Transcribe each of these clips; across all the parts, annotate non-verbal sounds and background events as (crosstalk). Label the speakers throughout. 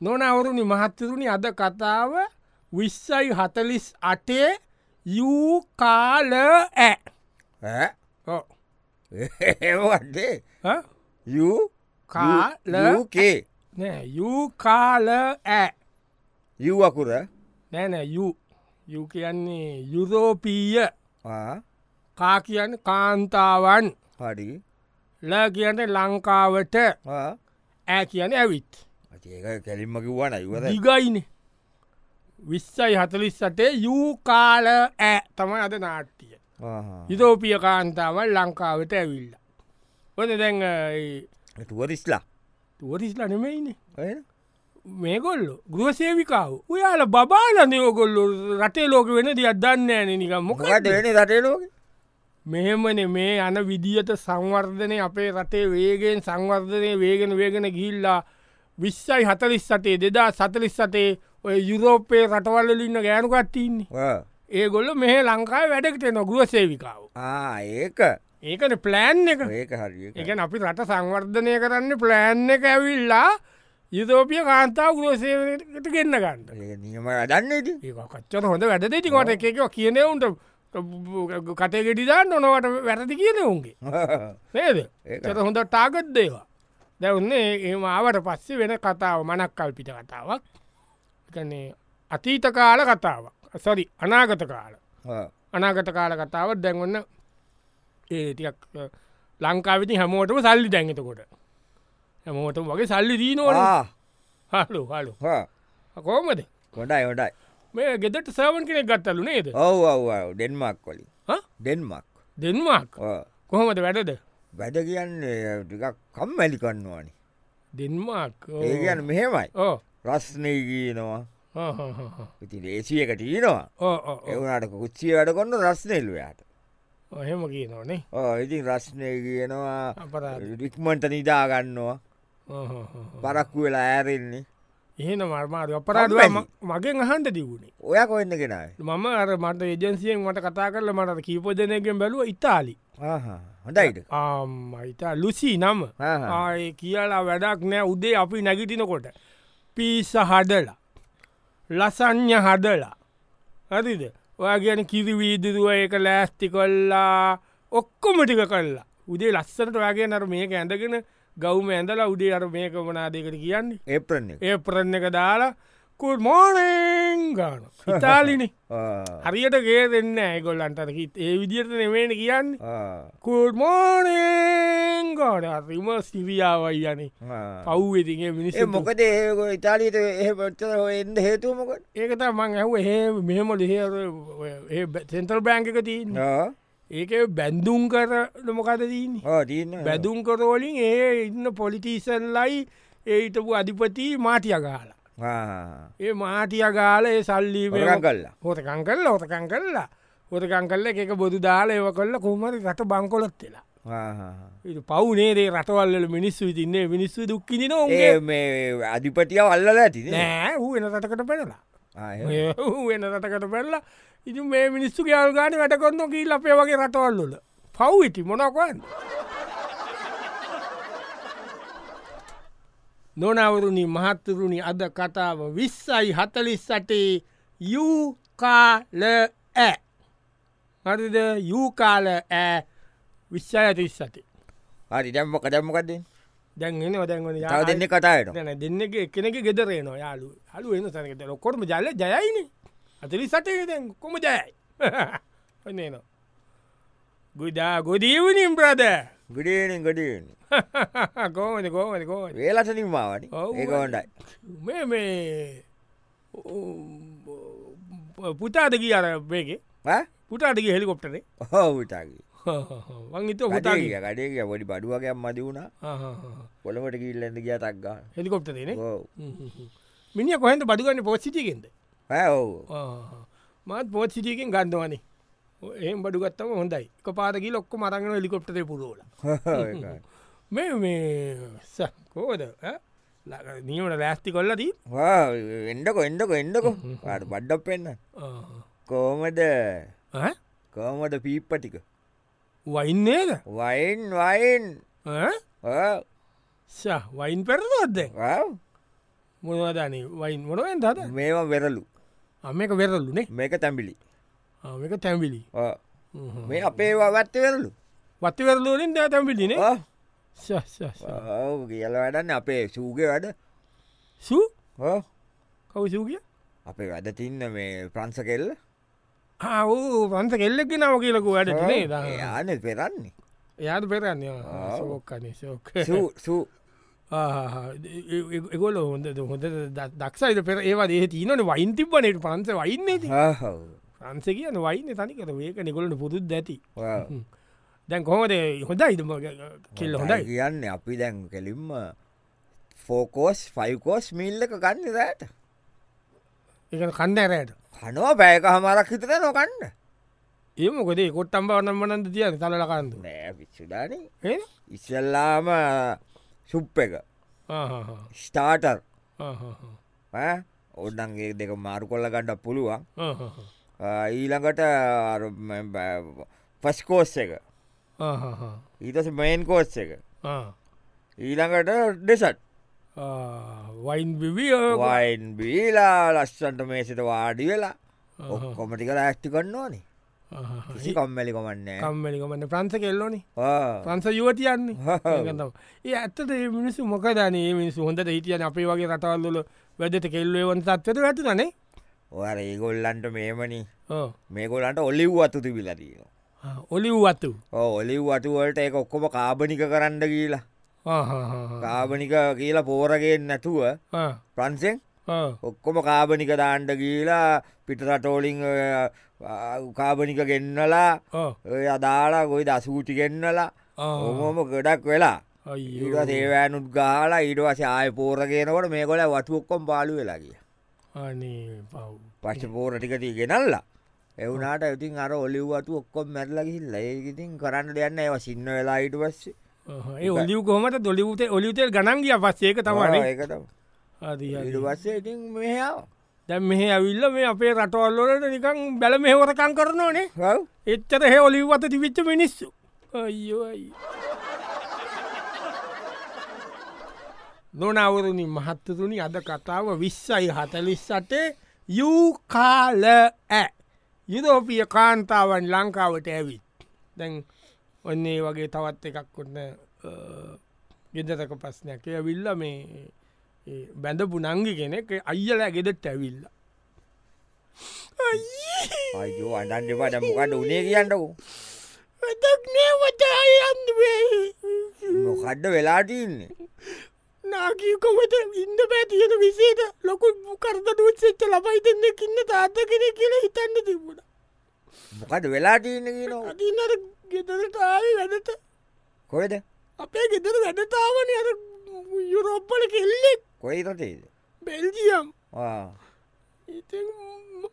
Speaker 1: නොනවරුණි මහත්තරුණි අද කතාව විශ්සයි හතලිස් අටේ යූකාල ඇ
Speaker 2: (laughs)
Speaker 1: ඔව්.
Speaker 2: ඒවටේ
Speaker 1: හ? කා- ල-
Speaker 2: යුකාලකේ
Speaker 1: නෑ, යූකාල ඇ
Speaker 2: යුවකුර
Speaker 1: නැන යු යු කියන්නේ යුරෝපීය කා කියන්න කාන්තාවන්
Speaker 2: හඩි
Speaker 1: ල කියන්න ලංකාවට ඇ කියන ඇවිත්
Speaker 2: ඒක කැලින්ම කිව්වන ඉවර
Speaker 1: දිගයින විශ්සයි හතලිස් සටේ යූකාල ඇ තමයි අද නාට්ටිය යුරෝපිය කාන්තාවන් ලංකාවට ඇවිල්ල ඔොද දැන්
Speaker 2: ටුවරිස්ලා
Speaker 1: තුවරිස්ල නෙමයින මේගොල්ලො ගෘහ සේවිකාව ඔයාල බාලන යෝගොල්ලො රටේ ලෝක වෙන දිියත් දන්න ෑන නික මොකද
Speaker 2: මොකට වෙන රටේලෝක
Speaker 1: මෙහෙමන මේ යන විදිහට සංවර්ධනය අපේ රටේ වේගෙන් සංවර්ධනය වේගෙන වේගෙන ගිල්ලා විශ්සයි හතලිස් සටේ දෙදා සතලිස් සටේ ඔය යුරෝපයේ රටවල්ලලින්න ගෑනුකට්ටන්නේ ඒගොල්ල මෙහ ලංකාව වැඩකට නොගුව සේවිකාව
Speaker 2: ඒක
Speaker 1: ඒකන ප්ලෑන් එක
Speaker 2: ඒක හරි
Speaker 1: එකන අපි රට සංවර්ධනය කරන්න ප්ලෑන් එක ඇවිල්ලා යුතෝපිය කාන්තාව ගෘසේට ගන්න ගන්න
Speaker 2: නියම අදන්නේද
Speaker 1: ඒකච්චන හොඳ වැඩදේති කොට එකක කියනවුන්ට කටයගෙටිදා නොනවට වැරදි කියනවුන්ගේ නේද
Speaker 2: ඒක.
Speaker 1: චත හොඳ ටාගත් දේවා දැවන්නේ ඒම ආවට පස්සේ වෙන කතාව මනක් කල්පිට කතාවක් එකන්නේ අතීත කාල කතාවක් සොරි අනාගත කාල අනාගත කාල කතාවත් දැන්වන්න ඒටික් ලංකාවිති හැමෝටම සල්ලි දැන්ගතකොට හැමෝටම වගේ සල්ලි දීනවන හලු හලු කෝමද
Speaker 2: කොඩයි ොඩයි
Speaker 1: මේ ගෙදට සවන් කෙනෙක් ගත්තලු නේද
Speaker 2: ඔව ඔව ඩෙන්මක් කොලින්
Speaker 1: හා?
Speaker 2: ඩෙන්මක්
Speaker 1: දෙන්මාක්
Speaker 2: ඔව්.
Speaker 1: කොහොමද වැඩද
Speaker 2: වැඩ කියන්නේ ටිකක් කම්මැලි කන්නවාන
Speaker 1: දෙන්මාක් ඕ.
Speaker 2: ඒ කියන්න මෙහෙමයි
Speaker 1: ඕ
Speaker 2: රස්නය කියනවා
Speaker 1: හා, හා, හා, හා.
Speaker 2: ඉති ලේසියකට ඊනවා
Speaker 1: ඕ, ඕ, ඕ.
Speaker 2: එවනට කුච්චිය වැඩ කොන්න රස්නේල්ලයාට
Speaker 1: එහෙම කියනවනේ
Speaker 2: ඉතින් රස්නය කියනවා
Speaker 1: අපරාධ
Speaker 2: රික්මට නිදාගන්නවා
Speaker 1: ඕ, හා, හා, හා.
Speaker 2: පරක්කු වෙලා ඇරෙන්නේ
Speaker 1: එහෙන මර්මාරු අපරාධ
Speaker 2: කම්මැලි.
Speaker 1: මගෙන් අහන්ට දිවුණේ
Speaker 2: ඔය කොන්න කෙනයි
Speaker 1: මම අර මට ඒජන්සියෙන් මට කතා කරල මට කීපෝජනයගෙන් බැලුව ඉතාලි
Speaker 2: හොඳයිට
Speaker 1: ආමයිතා ලුසි නම
Speaker 2: ආහා.
Speaker 1: ආය කියලා වැඩක් නෑ උදේ අපි නැගිටිනකොට පිස හඩලා ලසං්ඥ හදලා හරිද ඔයා ගැන කිරිවීදිරුව ඒක ලෑස්ති කොල්ලා ඔක්කොමටික කල්ලා උදේ ලස්සනට වගේ නර මේක ඇඳගෙන ගෞම ඇඳලා උඩේ අර මේක වනාදකට කියන්නේ
Speaker 2: ඒප්‍රන්න
Speaker 1: ඒ ප්‍රන්න එක දාලා කුල් මෝනගාන ඉතාලිනි හරියට ගේ දෙන්න ඇගොල්ලන්ටරකිත් ඒ විදිරත නෙමේන කියන්න කුල්මෝනගාන රිම සිරියාවයි යන
Speaker 2: Ah.
Speaker 1: පව්වෙතිගේ මිනිස
Speaker 2: ඒ මොකද ඒකො ඉතාලීට ඒ පොච්චර එන්න හේතුමකට
Speaker 1: ඒකත මං ඇහුව ඒ මෙහම ලිහ සෙන්තල් බෑංක තියන්න
Speaker 2: Ah.
Speaker 1: ඒක බැන්දුම් කර නොමකද දීන්න
Speaker 2: දීන්න
Speaker 1: බැදුම් කරෝලින් ඒ ඉන්න පොලිටීසන්ලයි ඒහිටපු අධිපති මාටියගාලා ඒ මාටියගාල ඒ සල්ලි
Speaker 2: හොරකම් කළා.
Speaker 1: හොතකං කරල හොතකං කරලා හොතකං කරල එක බොදු දාලා ඒව කල්ල කොහමරි රට බංකොලොත් වෙලා ඉට පවුනේදේ රටවල්ල මිනිස්සු ඉතින්නේ මිනිස්සු දුක්කිදි නොගේ
Speaker 2: ඒ මේ අධිපටිය වල්ලල ඇති
Speaker 1: නෑ හූ වෙන රටකට පැනලා ඌ වෙන රටකට පැල්ලා ඉති මේ මිනිස්සු ගයාල් ගාන වැටකොන්න කියීල් අපේ වගේ රටවල්ලොල පව්විටි මොනකොන් නොනවරුණි මහත්තුරුණි අද කතාව විස්සයි හතලිස් සටේ යූකාල ඇ හරිද යූකාල ඇ විශ්ෂය ඇතිස් සටේ
Speaker 2: හරි දැම්මක දැම්මකක්ද
Speaker 1: දැන් එනවා දැන්වන
Speaker 2: තව දෙන්න කතායට
Speaker 1: දැන දෙන්න කෙනෙක ගෙදරේනවා යාලු හලු එන්න සැනකට ලොකොටම ජල ජයයින අතලි සටේ දැන් කොම ජයයි (laughs) ඔන්නේන ගුඩා ගොඩීවනින් ප්‍රද (laughs)
Speaker 2: ගඩියෙන් ගඩියෙන්
Speaker 1: කෝමද කෝමද කෝ
Speaker 2: වේලසනින් මාවට
Speaker 1: ඔව්.
Speaker 2: ඒක හොඩයි
Speaker 1: මේ මේ ඔ- පුතාදක අර වේගේ පුටාටක (laughs) හෙලිකොප්ටරේ
Speaker 2: හෝවිටගේ
Speaker 1: වංගිත පුතා
Speaker 2: ගඩේ ගඩේ පොඩි බඩුවගයක් මදි වුණා පොළොට කිල්ලඳ ගිය තක්ගා
Speaker 1: හෙලිකොප්ට දෙන
Speaker 2: ඕ
Speaker 1: මිනි කොහන්ද බඩිගන්න පොස්සිටියෙන්ද
Speaker 2: (laughs) ඇව්
Speaker 1: මත් පෝත් සිටියකින් ගන්දවනේ ඒ බඩුගත්තම හොඳයි එක පාරකි ලොක්ක මරගෙන ලිකොප්ට පුරෝල මේ මේ ස- කෝද ඈ? ලා- නියමට ලෑස්ති කොල්ලදී
Speaker 2: එඩකො එඩකො එඩකො අට බඩ්ඩක් පෙන්න්න කෝමද කෝමට පීප්පටික
Speaker 1: වයින්නේද
Speaker 2: වයින් වයින්
Speaker 1: ඈ?
Speaker 2: ආ,
Speaker 1: ස වයින් පැරදොත්ද
Speaker 2: ආ.
Speaker 1: මොනවදානේ වයින් මොනුවෙන් දද
Speaker 2: මේවා වෙරලු
Speaker 1: මේක වෙරල්ලුනේ
Speaker 2: මේක තැම්බිලි
Speaker 1: මේක තැම්විලි
Speaker 2: ආ. මේ අපේවා වත්ත වෙරලු
Speaker 1: වත්ති වෙරලෝලින් දෑ තැම්පිලින
Speaker 2: ආ. ඔව් කියල වැඩන්න අපේ සූග වැඩ
Speaker 1: සූ
Speaker 2: ආ.
Speaker 1: කවසූ කිය
Speaker 2: අපේ වැඩ තින්න මේ ප්‍රංස කෙල්ල
Speaker 1: ආවූ පන්ස කෙල්ලෙක් නාව කියලකු වැඩටනේ දා
Speaker 2: යන පෙරන්නේ
Speaker 1: එයාට පෙරන්න
Speaker 2: ආ.
Speaker 1: සෝක්කනේ සෝක
Speaker 2: සූ සූ
Speaker 1: එකොල හොඳ හොඳ ද- දක්ෂයිට පෙර ඒවා දේ තිීනට වයින් තිබ්බනට පන්ස වයින්නේ ති
Speaker 2: ආහව්.
Speaker 1: පන්ස කියන වයින්න තනිකර ඒක නිකොලට පුදුද ඇති
Speaker 2: ඔව්.
Speaker 1: දැන් කොහොද හොඳ හිතම කෙල්ල
Speaker 2: හොඳයි
Speaker 1: හොඳයි
Speaker 2: කියන්න අපි දැන් කෙලින්ම ෆෝකෝස් ෆයිකෝස් මිල්ලක ගන්න දෑට
Speaker 1: එක කණ්ඩ ඇරයට
Speaker 2: හනවා බෑක හමරක් හිතර නොකන්න
Speaker 1: ඒම කොදේ කොට්ටම් බවනම්මනන්ද තියන තලකන්ද
Speaker 2: නෑ පිච්චුඩාන
Speaker 1: ඒ
Speaker 2: ඉස්සල්ලාම සුප් එක ස්ටාටර් ඔන්නන්ගේ දෙක මාරු කොල්ල ගණ්ඩ පුළුවන් ආ, ඊළඟට පස්කෝස් එක ඊතස මයින් කෝස් එක ඊළඟට ඩෙසට්
Speaker 1: වයින් විවිය
Speaker 2: වයින් බීලා ලස්සන්ට මේසිට වාඩි වෙලා කොමටිකල ඇස්ටි කන්නවානේ කිසි කම්මැලි කොමන්නේ
Speaker 1: කම්මලිකමන්න ප්‍රන්ස කෙල්ලොනි ප්‍රන්ස යුවතියන්නේ ඒ ඇත්තට ඒ මිනිස්සු මොකදන මිනිස්සු හොඳට හිටියන අපේ වගේ රටවල්ල වැඩට කෙල්ලේවන් සත්වට ඇතිනනේ
Speaker 2: ඔර ඒගොල්ලන්ට මේමනි මේගොලන්ට ඔලිව් අතු තිබිලතිය
Speaker 1: ඔලිව්වත්තු
Speaker 2: ඔලිව් අතුවලට ඒ ඔක්කොම කාබනික කරන්න කියලා කාබනික කියලා පෝරගෙන් නැතුව ප්‍රන්සෙන් ඔක්කොම කාබනික දාණ්ඩ කියලා පිටරටෝලිං කාබනික ගෙන්නලා ඔය අදාලා ගොයි දසූටි ගෙන්නලා ඔහොම ගොඩක් වෙලා ඊට දේවෑනුත් ගාලා ඊටවස ආය පෝරගෙනකොට මේ කොල වටුවක්කොම් පාලු වෙලාගිය
Speaker 1: අනේ පව්
Speaker 2: පශ්ච පෝර ටිකති ගෙනල්ලා එවුනාට ඇතින් අර ඔලිව්වතු ඔක්කොම් මැරලගිල් ඒගිතින් කරන්න දෙන්න ඒව සින්න වෙලා ඊට පස්සේ
Speaker 1: ඒ ඔලිව් කොමට දොලිවතේ ඔලිවතේ ගනන්ගිය පස්සේක
Speaker 2: ආ,
Speaker 1: තමයි
Speaker 2: ඒකටම. ඊට පස්සේ ඉතින් මෙහාාව
Speaker 1: දැම් මෙහ ඇවිල්ල මේ අපේ රටවල්ලොලට නිකං බැල මෙහෝරකං කරනවානේ එච්චර හෙ ඔලිවත තිවිච්ච මිනිස්සු අයෝයි නොනවරුණි මහත්තතුනි අද කතාව විශ්සයි හතලිස්සටේ යුකාල ඇ යුරෝපිය කාන්තාවන් ලංකාවට ඇවිත් දැන් ඔන්නේ වගේ තවත් එකක් කොන්න ගෙදතක පස්නයක් ඇවිල්ල මේ ඒ බැඳපු නංගි කෙනෙක් අයියලා ගෙදට ඇවිල්ල අයියේ
Speaker 2: අයෝ අඩන් දෙපට මොකට උනේ කියන්නකු
Speaker 1: වැඩක් නෑවට අයන්වේ
Speaker 2: මොකඩ්ඩ වෙලාටඉන්නේ
Speaker 1: නාකීකොමට ඉන්න බෑ තියෙන විසේද ලොකු කරදනුවත් සෙච්ච ලබයි දෙන්න ඉන්න තාත්ත කෙන කියලා හිතන්න තිබුණ
Speaker 2: මොකට වෙලාටඉන්න කියනවා
Speaker 1: අතින්නර ගෙදරටාව වැඩට
Speaker 2: කොයද
Speaker 1: අපේ ගෙදර වැඩතාවන අර යුරෝප්පල කෙල්ලෙක්
Speaker 2: කොයි රටේද
Speaker 1: බෙල්ජියම්
Speaker 2: ආ.
Speaker 1: ඉති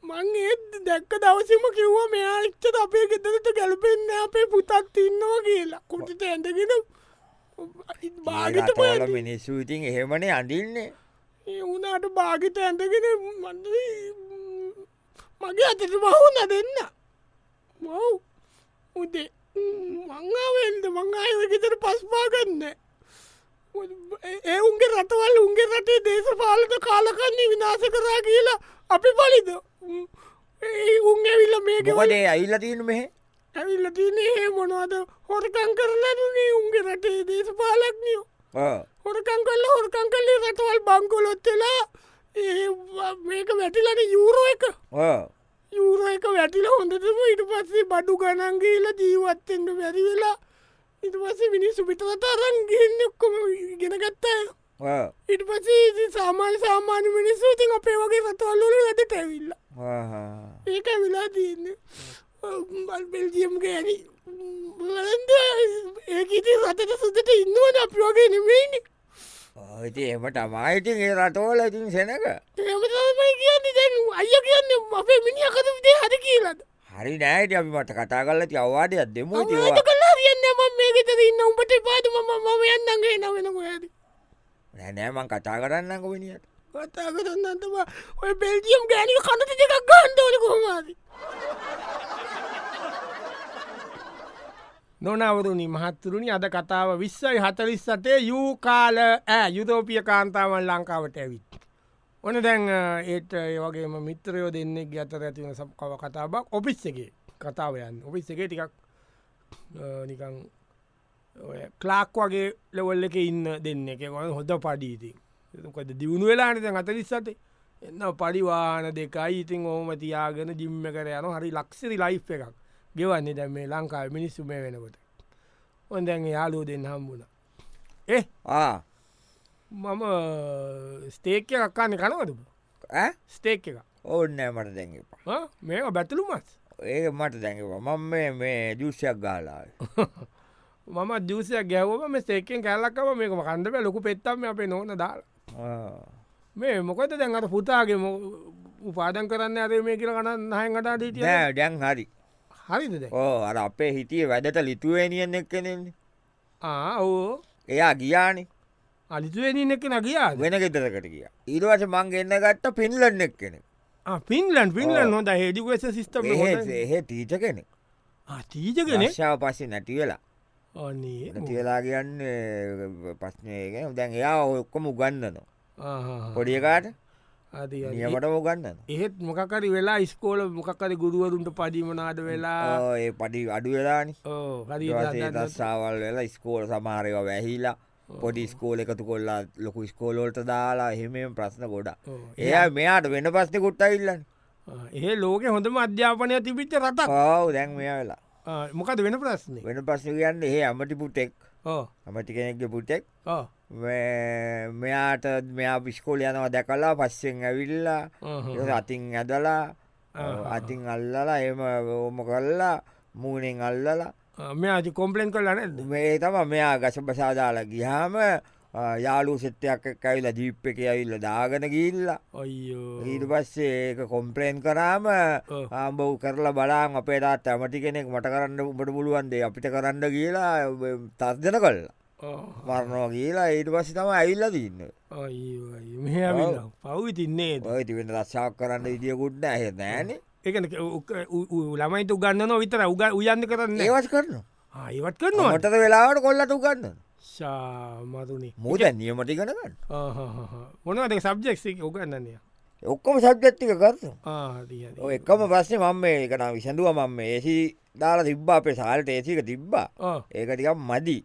Speaker 1: මං ඒත් දැක්ක දවසම කිව්වා මෙයාච්චට අපේ ගෙදරට ගැලපෙන්න්න අපේ පුතත් ඉන්නවා කියලා කොටිට ඇඳගෙන බාගට
Speaker 2: ඒ රටවල මිනිස්සු ඉතින් එහෙමනේ අඳින්නේ
Speaker 1: ඒ වුණට භාගිත ඇඳගෙන මන්ද මගේ අතට බහුන දෙන්න මව් උදේ මංගාවෙන්ද මංගායකතර පස්පාගන්න ඒ උන්ගේ රටවල් උන්ගේ රටේ දේශපාලට කාලකන්නේ විනාස කරා කියලා අපි පලිද ම්, ඒ උන් ඇවිල්ල මේක
Speaker 2: මොකදේ අයිල්ල තියන මෙහ
Speaker 1: ඇවිල්ල තිනේ මොනවද හොරකං කරලනේ උන්ගේ රටේ දේශපාලක්නියෝ හොරකං කල්ල හොරකං කල්ලේ රටවල් බංකොලොත්තලා ඒ ව- මේක වැටිලන යුරෝ එක යුරෝ එක වැටිල හොඳටම ඉට පස්සේ බඩු ගණන්ගේල ජීවත්තෙන්ට වැැරිවෙලා ඉට පස්සේ මිනිස්සු පිටත අරන්ගන්න ඔක්කොම ගෙනගත්තාය ඉට පසේ ඉතින් සාමාන්‍ය සාමාන්‍ය මිනිස්සු තින් අපේ වගේ රටවල්ලොල වැට ඇැවිල්ල ඒක වෙලා තියන්න බල් බෙල්ජියම්ගේ ඇනි බලන්ද ඒකීති රටට සුදට ඉන්නවන අපි වගේ නෙමෙයිනි
Speaker 2: ඉති එම තමායිතින් ඒ රටෝල ඉතින් සෙනක
Speaker 1: එමතමයි කියන්නේ දැන් අය කියන්න අපේ මිනි අකතු විදේ හද කියලද
Speaker 2: හරි නෑට අපි මට කතා කරල අවවාඩයක් දෙමු
Speaker 1: අමත කලා කියන්න ම මේ ගෙතර ඉන්න උඹට පාතුම මම යන්නගේ නවෙනක ඇද
Speaker 2: නෑනෑමන් කතා කරන්නක විනිියට
Speaker 1: කතා කරන්නතම ඔය බෙල්ජියම් ගෑනික කනට දෙකක් ගන්ඩෝන කොහමද නොනවරුණි මහත්තුරුණි අද කතාව විශ්සයි හතලිස් සටේ යූකාල ඇ යුතෝපිය කාන්තාවන් ලංකාවට ඇවිත් ඕන දැන් ඒත් ඒ වගේම මිත්‍රයෝ දෙන්නෙක් අතර ඇතිවන සකව කතාවක් ඔපිස් එකේ කතාව යන්න ඔපිස් එකේ ටිකක් නිකං කලාක් වගේ ලෙවල් එක ඉන්න දෙන්න එක ගොන හොඳ පඩීතින් කොද දියුණු වෙලාන දැන් අතරිස්සතේ එන්න පරිවාන දෙකයි ඉතින් ඕහම තියාගෙන ජිම්ම කර යන හරි ලක්සිරි ලයි් එකක් ගෙවන්නේ දැම් මේ ලංකාව මිනිස්සු මේ වෙනකොට ඔන් දැන් යාලෝ දෙන්න හම්බුණ ඒ
Speaker 2: ආ
Speaker 1: මම ස්ටේක්ක කක්කාන්න කනවද ස්ටේක් එක
Speaker 2: ඕන්නෑ මට දැඟපා
Speaker 1: මේ බැටලු මස්
Speaker 2: ඒ මට දැඟවා මම මේ- මේ ජුෂයක් ගාලා
Speaker 1: මම දසය ගැවම ස්ේකෙන් කැල්ලක්කම මේකම කන්දම ලොකු පෙත්තම අපේ නොන දාල මේ මොකද දැන් අට පුතාගේ මො- උපාදන් කරන්න අරේ මේ කියල කන්න හයගටා දීටිය
Speaker 2: නෑ ඩැන් හරි
Speaker 1: හරිද දැන්?
Speaker 2: ඕ අර අපේ හිටිය වැඩට ලිතුවේනියෙන් එක් කෙනෙන්නේ
Speaker 1: ආ ඕ
Speaker 2: එයා ගියානි
Speaker 1: අලිතුවෙනින් එක නගියා
Speaker 2: වෙන ගෙදරකට කිය ඊටවස මං එන්න ගත්ත පින්ලන්න එක් කෙනෙ
Speaker 1: පින්ලන් පින්ලන් හොඳ හෙඩිවෙස සිිස්ටම
Speaker 2: එහෙ තීච කෙනෙ
Speaker 1: තීජ කෙන
Speaker 2: ශාව පස්සෙ නැතිවෙලා
Speaker 1: ඕන්නේ
Speaker 2: නැතිවෙලා කියන්න පස්්නයගෙන දැන් එයා ඔක්කොම උගන්නනවා පොඩියකාට නියමට මුගන්නන
Speaker 1: එහෙත් මොකකරි වෙලා ස්කෝල මොකකරි ගුරුවරුන්ට පඩිමනාද වෙලා
Speaker 2: ඒ පඩි අඩු වෙලානි
Speaker 1: ඕ
Speaker 2: දස්සාවල් වෙලා ස්කෝල සමාරයව වැහිලා පොඩි ස්කෝල එකතු කොල්ලා ලොකු ස්කෝලෝල්ට දාලා එහෙමම ප්‍රශ්න ගොඩා එයා මෙයාට වෙන පස්්න කොට්ට ඉල්ලන්න
Speaker 1: ඒ ලෝක හොඳම අධ්‍යාපනය තිබිච්ච රටක්
Speaker 2: ඔව දැන් මෙයා වෙලා
Speaker 1: ආ, මොකද වෙන ප්‍රශ්නය
Speaker 2: වෙන පස්්න කියන්න ඒ අමටි පුටෙක්
Speaker 1: ඕ
Speaker 2: අමටි කෙනෙක්ගේ පුටෙක්
Speaker 1: ඕ
Speaker 2: මෙයාට මෙයා බිස්කෝල යනවා දැකලා පස්සෙන් ඇවිල්ලා ඒක අතින් ඇදලා අතින් අල්ලලා එම ඕම කල්ලා මූනෙන් අල්ලලා
Speaker 1: මේ අජි කොම්පලෙන් කල් නැද
Speaker 2: මේ තම මෙයා ගසපසාදාලා ගිහාම අ, යාලු සෙත්තයක් ඇවිල ජීප් එක ඇවිල්ල දාගෙන ගිල්ලා
Speaker 1: ඔයෝ
Speaker 2: ඊට පස්සේ ඒක කොම්පලේන් කරාම
Speaker 1: ඔව්.
Speaker 2: ආම්බව් කරලා බලාන් අපේටත් ඇමටි කෙනෙක් මට කරන්න උඹට පුළුවන්දේ අපිට කරන්න කියලා තර්ජන කල්ලා
Speaker 1: ඕ.
Speaker 2: මරණෝ කියලා ඊට පස්ස තම ඇවිල්ල දන්න
Speaker 1: අයියෝ, අයියෝ. මෙහා විල්ලා. පව්විතින්නේ
Speaker 2: ඔය තිබෙන රස්සාක් කරන්න ඉදියකුට්න ඇහ නෑන
Speaker 1: එකන ළමයිතු ගන්න විතර උග උයන්න කරන්න
Speaker 2: ඒවස් කරන
Speaker 1: ඒවත් කරනවා
Speaker 2: මටද වෙලාවට කොල්ලට උගන්න
Speaker 1: ශාමතුනේ
Speaker 2: මුද නියමටි කනගන්න
Speaker 1: මොනවද සබ්ජෙක්සික උගන්නන්නේ
Speaker 2: ඔක්කොම සබ්ජත්තික කරතු
Speaker 1: ආ
Speaker 2: ඔය එකම ප්‍රශ්නේ මම මේ එකන විසඳුව මම ඒසි දාලා තිබ්බා අපේ සාලට ඒසික තිබ්බා ඒක ටිකම් මදි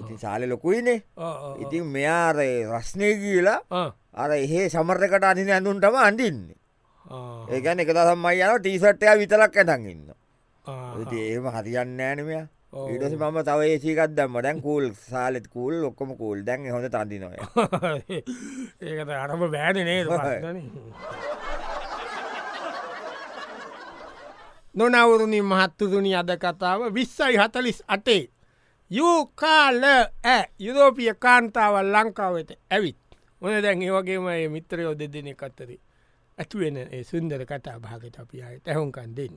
Speaker 2: ඉතින් සාලෙ ලොකුයිනේ ඉතින් මෙයාරය රශ්නය කියලා අර එහේ සමර්කට අනින ඇඳුන්ටම අඳින්නේ ඒකැන එක සම්මයි යන ටීසට්ටය විතරක් ඇටන් ඉන්න ඉති ඒම හරියන්න ෑනමයා
Speaker 1: ඔව්.
Speaker 2: ඉටස මම තව ඒසිකත් දම්ම දැන් කූල් සාලෙත් කූල් ඔක්කම කූල් දැන් හොඳ තඳිනොය
Speaker 1: (laughs) ඒකත අරම බෑනනේ නොනවුරුණි මහත්තුදුනි අද කතාව විස්සයි හතලිස් අටේ යුකාල ඇ යුරෝපිය කාන්තාවල් ලංකාවට ඇවිත් ඕන දැන් ඒවගේම ඒ මිත්‍රයෝ දෙදෙන කත්තරේ ඇතුවෙන ඒ සුන්දර කතා භාගත අපි අයට ඇහුන්කන් දෙන්න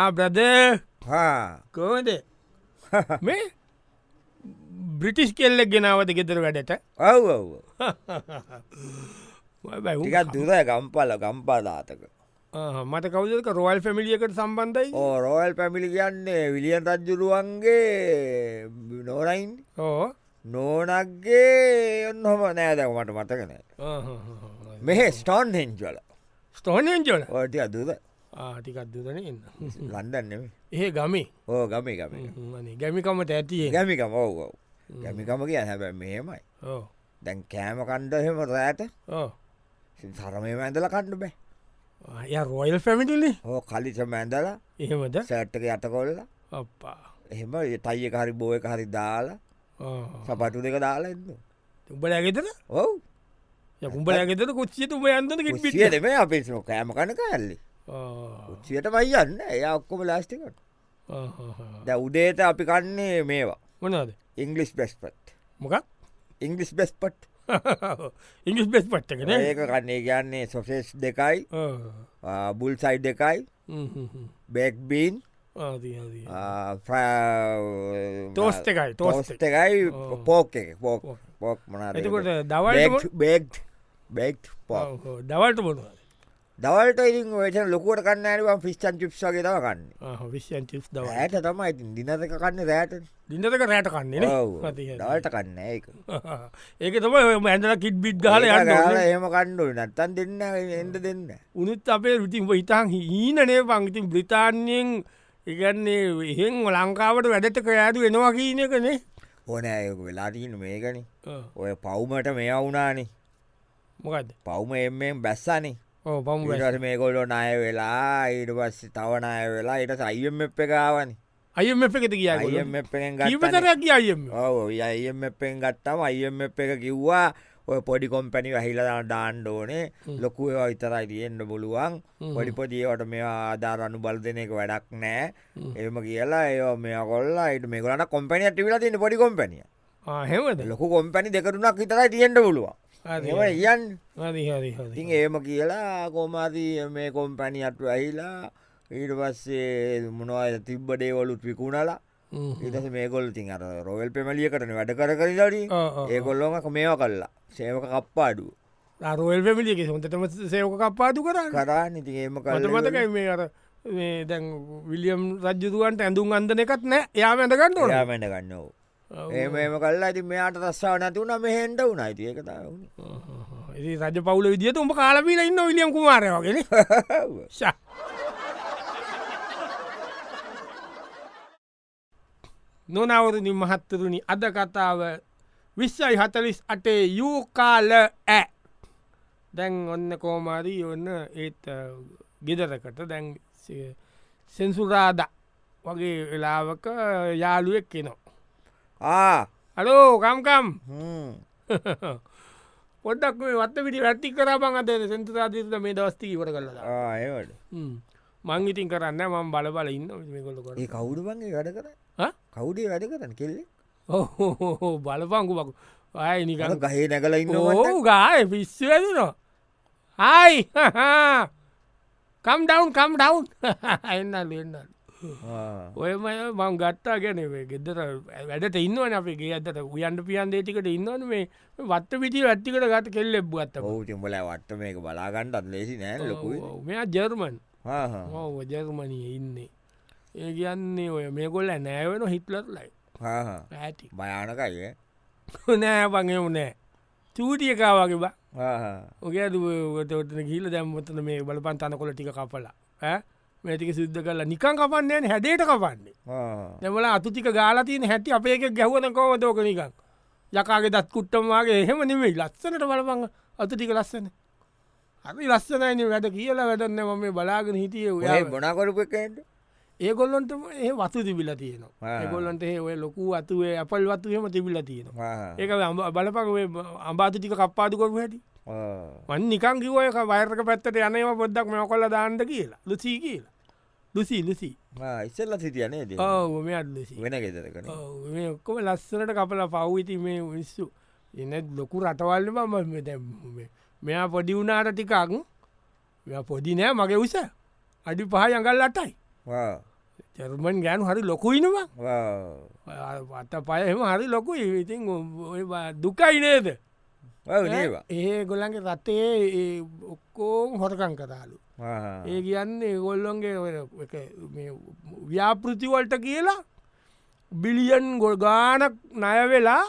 Speaker 1: ආබ්‍රද කෝද මේ බ්‍රිටිස් කෙල්ලෙක් ගෙනාවද ගෙදර වැඩට
Speaker 2: ඔව් ඔව්
Speaker 1: බැ
Speaker 2: ටිකත් දුර ගම්පල ගම්පාදාතක
Speaker 1: මට කවදක රෝල් පැමිලියකට සම්බන්ධයි
Speaker 2: ඕ රෝයල් පැමිලි කියන්නේ විලියන් රජ්ජුරුවන්ගේ නෝරයින්
Speaker 1: ඕ
Speaker 2: නෝනක්ගේ ඔන්න හොම නෑදැ මට මතකන මෙහෙ ස්ටෝන් හෙන්චල
Speaker 1: ස්ටෝනයන්ජල
Speaker 2: ඔට අදද
Speaker 1: ආටිකත්දුදන එන්න
Speaker 2: ලන්ඩන්නෙම
Speaker 1: ඒ ගමේ
Speaker 2: ඕ ගමි ගම
Speaker 1: ගැමිකමට ඇතියේ
Speaker 2: ගැමිකම ඔව් ඔව් ගැමිකම කිය හැබැ මෙහෙමයි
Speaker 1: ඕ
Speaker 2: දැන් කෑම කණ්ඩහෙම රෑට
Speaker 1: ඕ
Speaker 2: සරමේ ඇඳල කණ්ඩු බෑ
Speaker 1: ය රොයිල් පැමිටිලි
Speaker 2: හෝ කලිස මැන්දලා
Speaker 1: එහෙමද
Speaker 2: සැට්ටක යටකොල්ලා
Speaker 1: අප්පා
Speaker 2: එහෙම තයිය හරි බෝය හරි දාලා සපටු දෙක දාලා එන්න
Speaker 1: උඹල ඇගෙතර
Speaker 2: ඔව්
Speaker 1: යකුම්ඹල ඇගෙතර කොච්චිය තුම යන්දන කිට
Speaker 2: සිියට මේ අපේ කෑම කණක ඇල්ලි උච්චයට වයි යන්න එය ඔක්කොම ලාස්ටිකට ද උඩේට අපි කන්නේ මේවා
Speaker 1: මොනාද
Speaker 2: ඉංගලිස් බෙස්පට්
Speaker 1: මොකක් (laughs)
Speaker 2: ඉංගලිස් බෙස්පට්
Speaker 1: ඉංගිස් බෙස් පට්ටකන
Speaker 2: ඒක කන්නේ කියන්නේ සොසෙස් දෙකයි ආ, බුල් සයි දෙකයි බෙක්බීන්
Speaker 1: Toast එකයි, toast එක.
Speaker 2: එකයි
Speaker 1: ඔව්.
Speaker 2: පෝක පෝක්
Speaker 1: ඔව්.
Speaker 2: පෝක් මන
Speaker 1: එතකොට දවල්ට Oh.
Speaker 2: බෙක් බෙක් පෝ
Speaker 1: ඔව්, ඔව්. දවල්ට බොනවා
Speaker 2: දවල්ට ඉතින් ඔයටන ලොකුවට කන්නෑනවා ෆිස්ටන් චිප්සගේ තව කන්න
Speaker 1: විෂයන් චිස් දව
Speaker 2: රෑට තමයි ඉතින් දිනතක කන්න රෑට
Speaker 1: දිින්දක රෑට කන්නේ
Speaker 2: දවල්ට කන්න ඒක
Speaker 1: (laughs) ඒක තම ඇඳල කිට් බිට් ගල
Speaker 2: ඒම කණ්ඩුව නත්තන් දෙන්න එන්ට දෙන්න
Speaker 1: උනුත් අපේ රුතින් ඉතාන් හීනනේ පංගතින් බ්‍රිතාන්යෙන් ඉගන්නේ එහෙන් ලංකාවට වැඩට කයාතු වෙනවා කියීනකනේ
Speaker 2: ඕනෑයක වෙලාටීන මේකන ඔය පව්මට මේ අවුනානේ
Speaker 1: මොකද
Speaker 2: පව්ම එෙන් බැස්සනේ
Speaker 1: ඕ පම්
Speaker 2: ඉට මේ කොල්ලො නය වෙලා ඊට පස්ස තවනය වෙලා ඉට සයිම් එප් එකකාවන
Speaker 1: අයම එකෙත කිය
Speaker 2: අයිම් එෙන් ගන්න
Speaker 1: ජීවිතරයක් අයම
Speaker 2: ඔව අයිම් එෙන් ගත්තම අයිම් එ් එක කිව්වා ඔය පොඩි කොම්පැනි වැහිලා ඩාන්්ඩ ඕනේ ලොකුව විතරයි තියෙන්න්න පුළුවන් පොඩිපොදියට මේ ආධාරණු බල දෙනෙක වැඩක් නෑ එම කියලා ඒ මේ කොල්ලා ට මේකලන කොම්පැනිට විලා තින්න පොඩි කොම්පැනිය
Speaker 1: හෙමද
Speaker 2: ලොකු කොම්පැනි දෙකරුණක් විතරයි තියෙන්ට පුළුවන් ඒව කියන් ඉතින් ඒම කියලා කොමාදී මේ කොම්පැනිියත් ඇහිලා ඊට පස්සේ මොනවාද තිබ්බඩේවලුත් විකුණලා ඉටස මේගොල් තින් අර රොවල් පෙමලිය කරන වැඩ කර කරලාට
Speaker 1: Uh-huh.
Speaker 2: ඒගොල්ලොම මේවා කල්ලා සේවක කප්පාඩු
Speaker 1: රෝල් පැමිලියගේ හොඳටම සයෝක කප්පාතු කරන්න
Speaker 2: කරා නිති ඒම
Speaker 1: මට මතකයි මේ අර මේ දැන් විලියම් රජ්ජතුවන්ට ඇඳුම් අන්දන එකත් නෑ යා ඇඳගන්න ඕන
Speaker 2: යාමට ගන්නෝ ඒම ඒම කල්ලා ඇති මෙයාට රස්සාාව නැතිවුණ මෙහෙන්ට වුණයි තියකතාවුණ
Speaker 1: ඉතින් රජ පවුල විදිහට උඹ කාලපීල ඉන්න විලියම් කුමාරය වගෙන නොනවරනි මහත්තරුණි අද කතාව විශ්සයි හතලිස් අටේ යූකාල ඇ දැන් ඔන්න කෝමාරී ඔන්න ඒත් ගෙදරකට දැන් සෙන්සුරාද වගේ වෙලාවක යාළුවෙක් කෙනවා
Speaker 2: ආ
Speaker 1: අලෝ කම්කම්
Speaker 2: හ්ම්.
Speaker 1: (laughs) පොඩක් මේ වත් පිටි වැටි කරබන් අද සෙන්තුරාදීත මේ දවස්තිී වට කරලා
Speaker 2: ආ, ඒවට
Speaker 1: මං ඉතින් කරන්න මං බලබල ඉන්න මේකොල්ල කර
Speaker 2: ඒ කවුඩුවන්ගේ වැඩ කර
Speaker 1: ආ?
Speaker 2: කවුඩේ වැඩ කරන කෙල්ලෙක්
Speaker 1: ඕ බලපංකුමකු අය නිකන්
Speaker 2: ගන ගහේ නැකල ඉන්නවා
Speaker 1: ඕ ගාය පිස්සු ඇදනවා හයි කම් ඩවන් කම් (laughs) ඩවන් එන්නල් එන්න ඔයම මං ගත්තා ගැන ගෙදර වැඩට ඉන්නවන අපේ ගේ අතට උයන්ට පියන් දේතිකට ඉන්නවන මේ වත්ත පිටි වැත්තිකට ගත කෙල්ල එබ්බ ගත්තම
Speaker 2: පෝතිම්බල වට මේක බලාගණ්ඩත් ලෙසි නෑ ලොකුයි
Speaker 1: මෙයා ජර්මන්
Speaker 2: හා, හා.
Speaker 1: ඔව ජර්මණය Oh, ඉන්නේ ඒ කියන්නේ ඔය මේකොල්ල නෑවෙන හිටලත්ලයි
Speaker 2: හා, හා.
Speaker 1: ඇති
Speaker 2: භයානකයිය
Speaker 1: (laughs) නෑ පඟෙම නෑ චූටියකාවගේ බා
Speaker 2: හා, හා.
Speaker 1: ඔගේදටන ගිල දැම්මතන මේ බලපන් තන කොල ටික කපලා මේටික සිද්ධ කරලා නිකං කපන්නේන හැඩේට කපන්නේ
Speaker 2: හා.
Speaker 1: දෙමල අතුතික ගාලතින හැටි අප එක ගැවන කෝමතෝක නිකං යකාගේ දත් කුට්ටමවාගේ එහෙම නෙමේ ලස්සනට බලපං අතුටික ලස්සන අපි ලස්සනයින වැඩ කියලා වැඩන්න ම මේ බලාගෙන හිටිය
Speaker 2: ඔය
Speaker 1: ඔය
Speaker 2: බොනාකොරපුකට
Speaker 1: ඒගොල්ලොන්ටම ඒ වතු තිබිල තියෙනවා
Speaker 2: ආ.
Speaker 1: ඒගොල්ලොන්ට ඒ ඔය ලොකු අතුවේ අපල් වත්තුහෙම තිබිල තියෙනවා ඒක බලපක අම්බාතිටික කප්පාදු කොරු හැටි මන් නිකං කිවය වයරක පැත්තට යනවා පොද්දක් මෙ කොල්ල දාන්ට කියලා ලුසී කියලා ලුසී ලුසි
Speaker 2: ඉස්සල්ල සිටියනේ ද
Speaker 1: ඔවම අදලසි
Speaker 2: වෙන ගෙදරකන
Speaker 1: ඔක්කොම ලස්සනට කපල පව්විති මේ විස්සු එන ලොකු රටවල්ල මම දැ මෙයා පොඩි වුණාට ටිකක් මෙයා පොඩි නෑ මගේ උස අඩි පහ යඟල් අටයි චර්මන් ගෑනු හරි ලොකුයිනවා අත පයම හරි ලොකු ඉවිතින් දුකයි නේද
Speaker 2: නේවා
Speaker 1: ඒ ගොල්ලන්ගේ රටේ ඒ ඔක්කෝම් හොරකං කතාලු ඒ කියන්නේ ගොල්ලොන්ගේ ව්‍යාපෘතිවලට කියලා බිලියන් ගොල් ගානක් නයවෙලා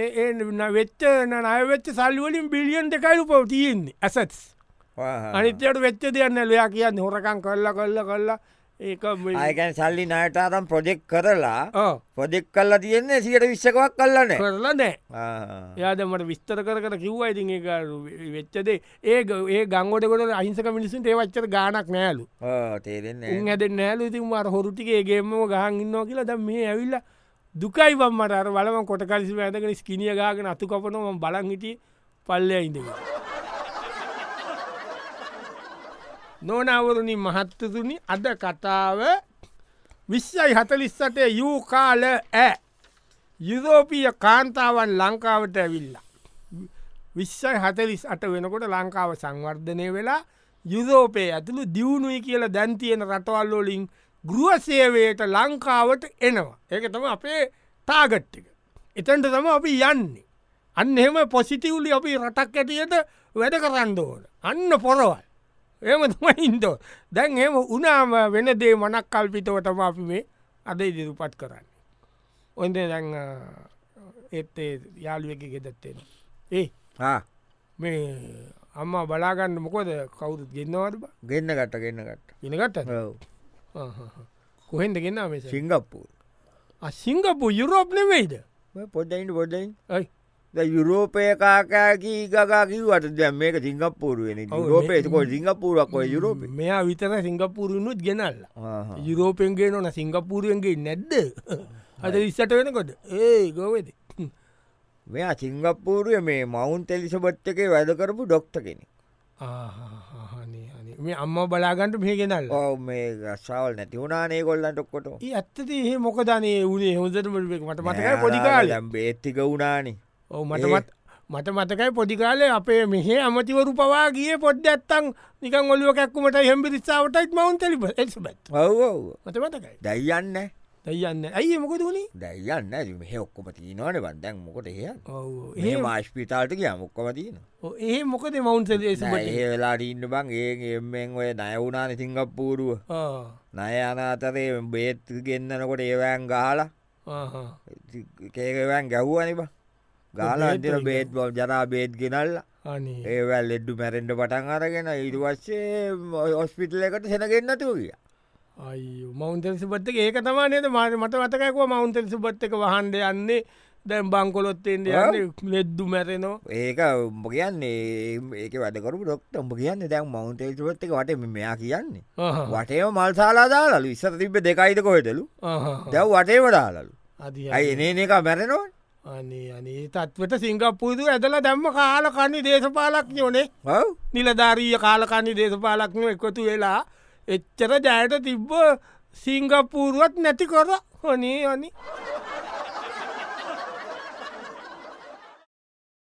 Speaker 1: ඒ ඒ න- වෙච්ච න- නයවෙච්ච සල්ලිවලින් බිලියන් දෙකයිලු පවතියෙන්නේ ඇසත් අනිත්‍යයට වෙච්ච දෙයන්න ලයා කියන්න හොරකං කල්ල කල්ල කල්ලා ඒක මේ-
Speaker 2: අයකැන් සල්ලි නයටාතම් ප්‍රොජෙක්් කරලා
Speaker 1: ඔව්.
Speaker 2: පොජෙක් කල්ලා තියන්නේ සිට විශ්කවක් කල්ලන
Speaker 1: කරලා නෑ එයාද මට විස්තර කර කර කිව්වා ඉතින් ඒක වෙච්චදේ ඒ ග- ඒ ගංගොඩකොට අහිංසක මිනිසුන් ඒ වච්චර ගානක් නෑලු
Speaker 2: තේරෙන්නේ
Speaker 1: ඇද නෑලු ඉතින් මට හොරුටිකේගේම ගහන් ඉන්නවා කියලා ද මේ ඇවිල්ල දුකයිවම් මට අර බලම කොටකල්සි ඇදගෙන ස්කිනිය ගාගෙන අතු කපනොම බලන් හිටිය පල්ලය ඉඳව. නොනවරණින් මහත්තතුනි අද කතාව විශ්ෂයි හතලිස්සටේ යූකාල ඇ යුරෝපීය කාන්තාවන් ලංකාවට ඇවිල්ලා. විශ්ෂයි හතලිස් අට වෙනකොට ලංකාව සංවර්ධනය වෙලා යුරෝපය ඇතුළු දියුණුයි කියලා දැන්තියෙන රටවල්ලෝලින් ගෘුවසේවයට ලංකාවට එනවා. ඒක තම අපේ තාගට්ටික. එතන්ට තම අපි යන්නේ. අන්න එම පොසිටිවලි අපි රටක් ඇටියට වැඩ කරන්න ඕන. අන්න පොරවල්. එම තුමයින්දෝ දැන් එම උනාම වෙන දේ මනක් කල්පිතව තම අපි මේ අද ඉදිරිපත් කරන්න. ඔොන්ද දැන් එත්තේ යාළුවක ගෙදත්තෙන. ඒ මේ අම්ම බලාගන්න මොකොද කවුරුත් ගෙන්නවද
Speaker 2: ගෙන්න්න ගට ගෙන්න්න ගට
Speaker 1: ඉනගත්ත කොහෙන්ද ගෙන්න්න මේ
Speaker 2: සිංගප්පූර්
Speaker 1: සිංගපපු යුරෝප් නෙවෙයිද
Speaker 2: පොඩ්ඩයින් පොඩ්ඩයින්
Speaker 1: යි
Speaker 2: යුරෝපය කාකාකී ගකාකිවට දැ මේක සිංගපපුරුවෙන
Speaker 1: ඔව්,
Speaker 2: යුරෝපේකොයි සිංගපපුරක්ොයි යුරෝප
Speaker 1: මෙයා විතර සිංගපූරුණුත් ගෙනල්ල යුරෝපෙන්ගේ නොන සිංගපූරුවන්ගේ නැද්ද අද ඉස්සට වෙනකොට ඒ ගොවෙද
Speaker 2: මෙයා සිංගප්පූරුව මේ මවුන් තෙලිසබට් එකේ වැඩකරපු ඩොක්ට කෙනෙ
Speaker 1: මේ අම්ම බලාගන්ට මේ ගෙනල්ල
Speaker 2: ඔව මේ ගස්සාවල් නැති වුණනේ කොල්ලන්ට ඔක්කොට
Speaker 1: ඒ ඇත්තති ඒ මොකදනේ වනේ හොදටමට මට මතකයි පොඩිකාල
Speaker 2: බේත්තික වුණානේ
Speaker 1: ඔව මටමත් මට මතකයි පොඩිකාලේ අපේ මෙහේ අමතිවරු පවා ගිය පොඩ්ඩ ඇත්තන් නිකන් ඔලුව කැක්කුමට හෙම්බි රිස්සාාවටයිත් මවන් තෙලි එස්බත්
Speaker 2: ඔව ඔව
Speaker 1: මත මතකයි
Speaker 2: දැයියන්න
Speaker 1: දයියන්න ඇයි මොකද වුණේ
Speaker 2: දැයියන්න මෙහ ඔක්කොම තිීනවන බන්දැන් මොකට එහ
Speaker 1: ඔව්
Speaker 2: ඒ මාශ්පිතාල්ට කිය මොක්කම තියන
Speaker 1: ඔව් ඒ මොකද මවුන් සෙලි
Speaker 2: ඒලා ටීන්න බං ඒ එෙන් ඔය නයවුණන සිංගප්පූරුව නය අනාතරේ බේත් ගෙන්න්නනකොට ඒවෑන් ගාලා කේකවෑන් ගැව්වනිබ ගාලා අන්තිර බේත් බව ජනා බේත් ගෙනල්ලා
Speaker 1: අනේ
Speaker 2: ඒවැල් එඩ්ඩු මැරෙන්ඩ පටන් අරගෙන ඉරිවස්සේ ඔස්පිටල එකට සෙනගෙන්න්නතුව කිය
Speaker 1: අයි මෞන්තෙල් සුපත්ක ඒක තමා නද මාට මට වතකයක මෞන්තෙල් සුපත්තක වහන්ඩ යන්නේ දැම් බංකොලොත්තෙන්ට ලෙද්දු මැරෙනෝ
Speaker 2: ඒක උඹ කියන්නේ ඒක වැඩකරු ඩොක්ට උඹ කියන්න දැන් මවන්තේල්ටුවත් එක වට මෙයා කියන්නේ වටේ මල්සාලා දාලු ඉස්සර තිබ දෙකයිද කොහෙදලු දැව් වටේ වඩාලලු අයි
Speaker 1: අනේ
Speaker 2: එන එක මැරෙනවන්
Speaker 1: අනේ තත්වට සිංගපපුූතු ඇදල දැම්ම කාල කන්නේ දේශපාලක් යොනේ
Speaker 2: ඔව්
Speaker 1: නිලධාරීය කාලකන්නේ දේශපාලක්න එකතු වෙලා එච්චර ජයට තිබ්බ සිංගපූරුවත් නැති කර හොනේ අනි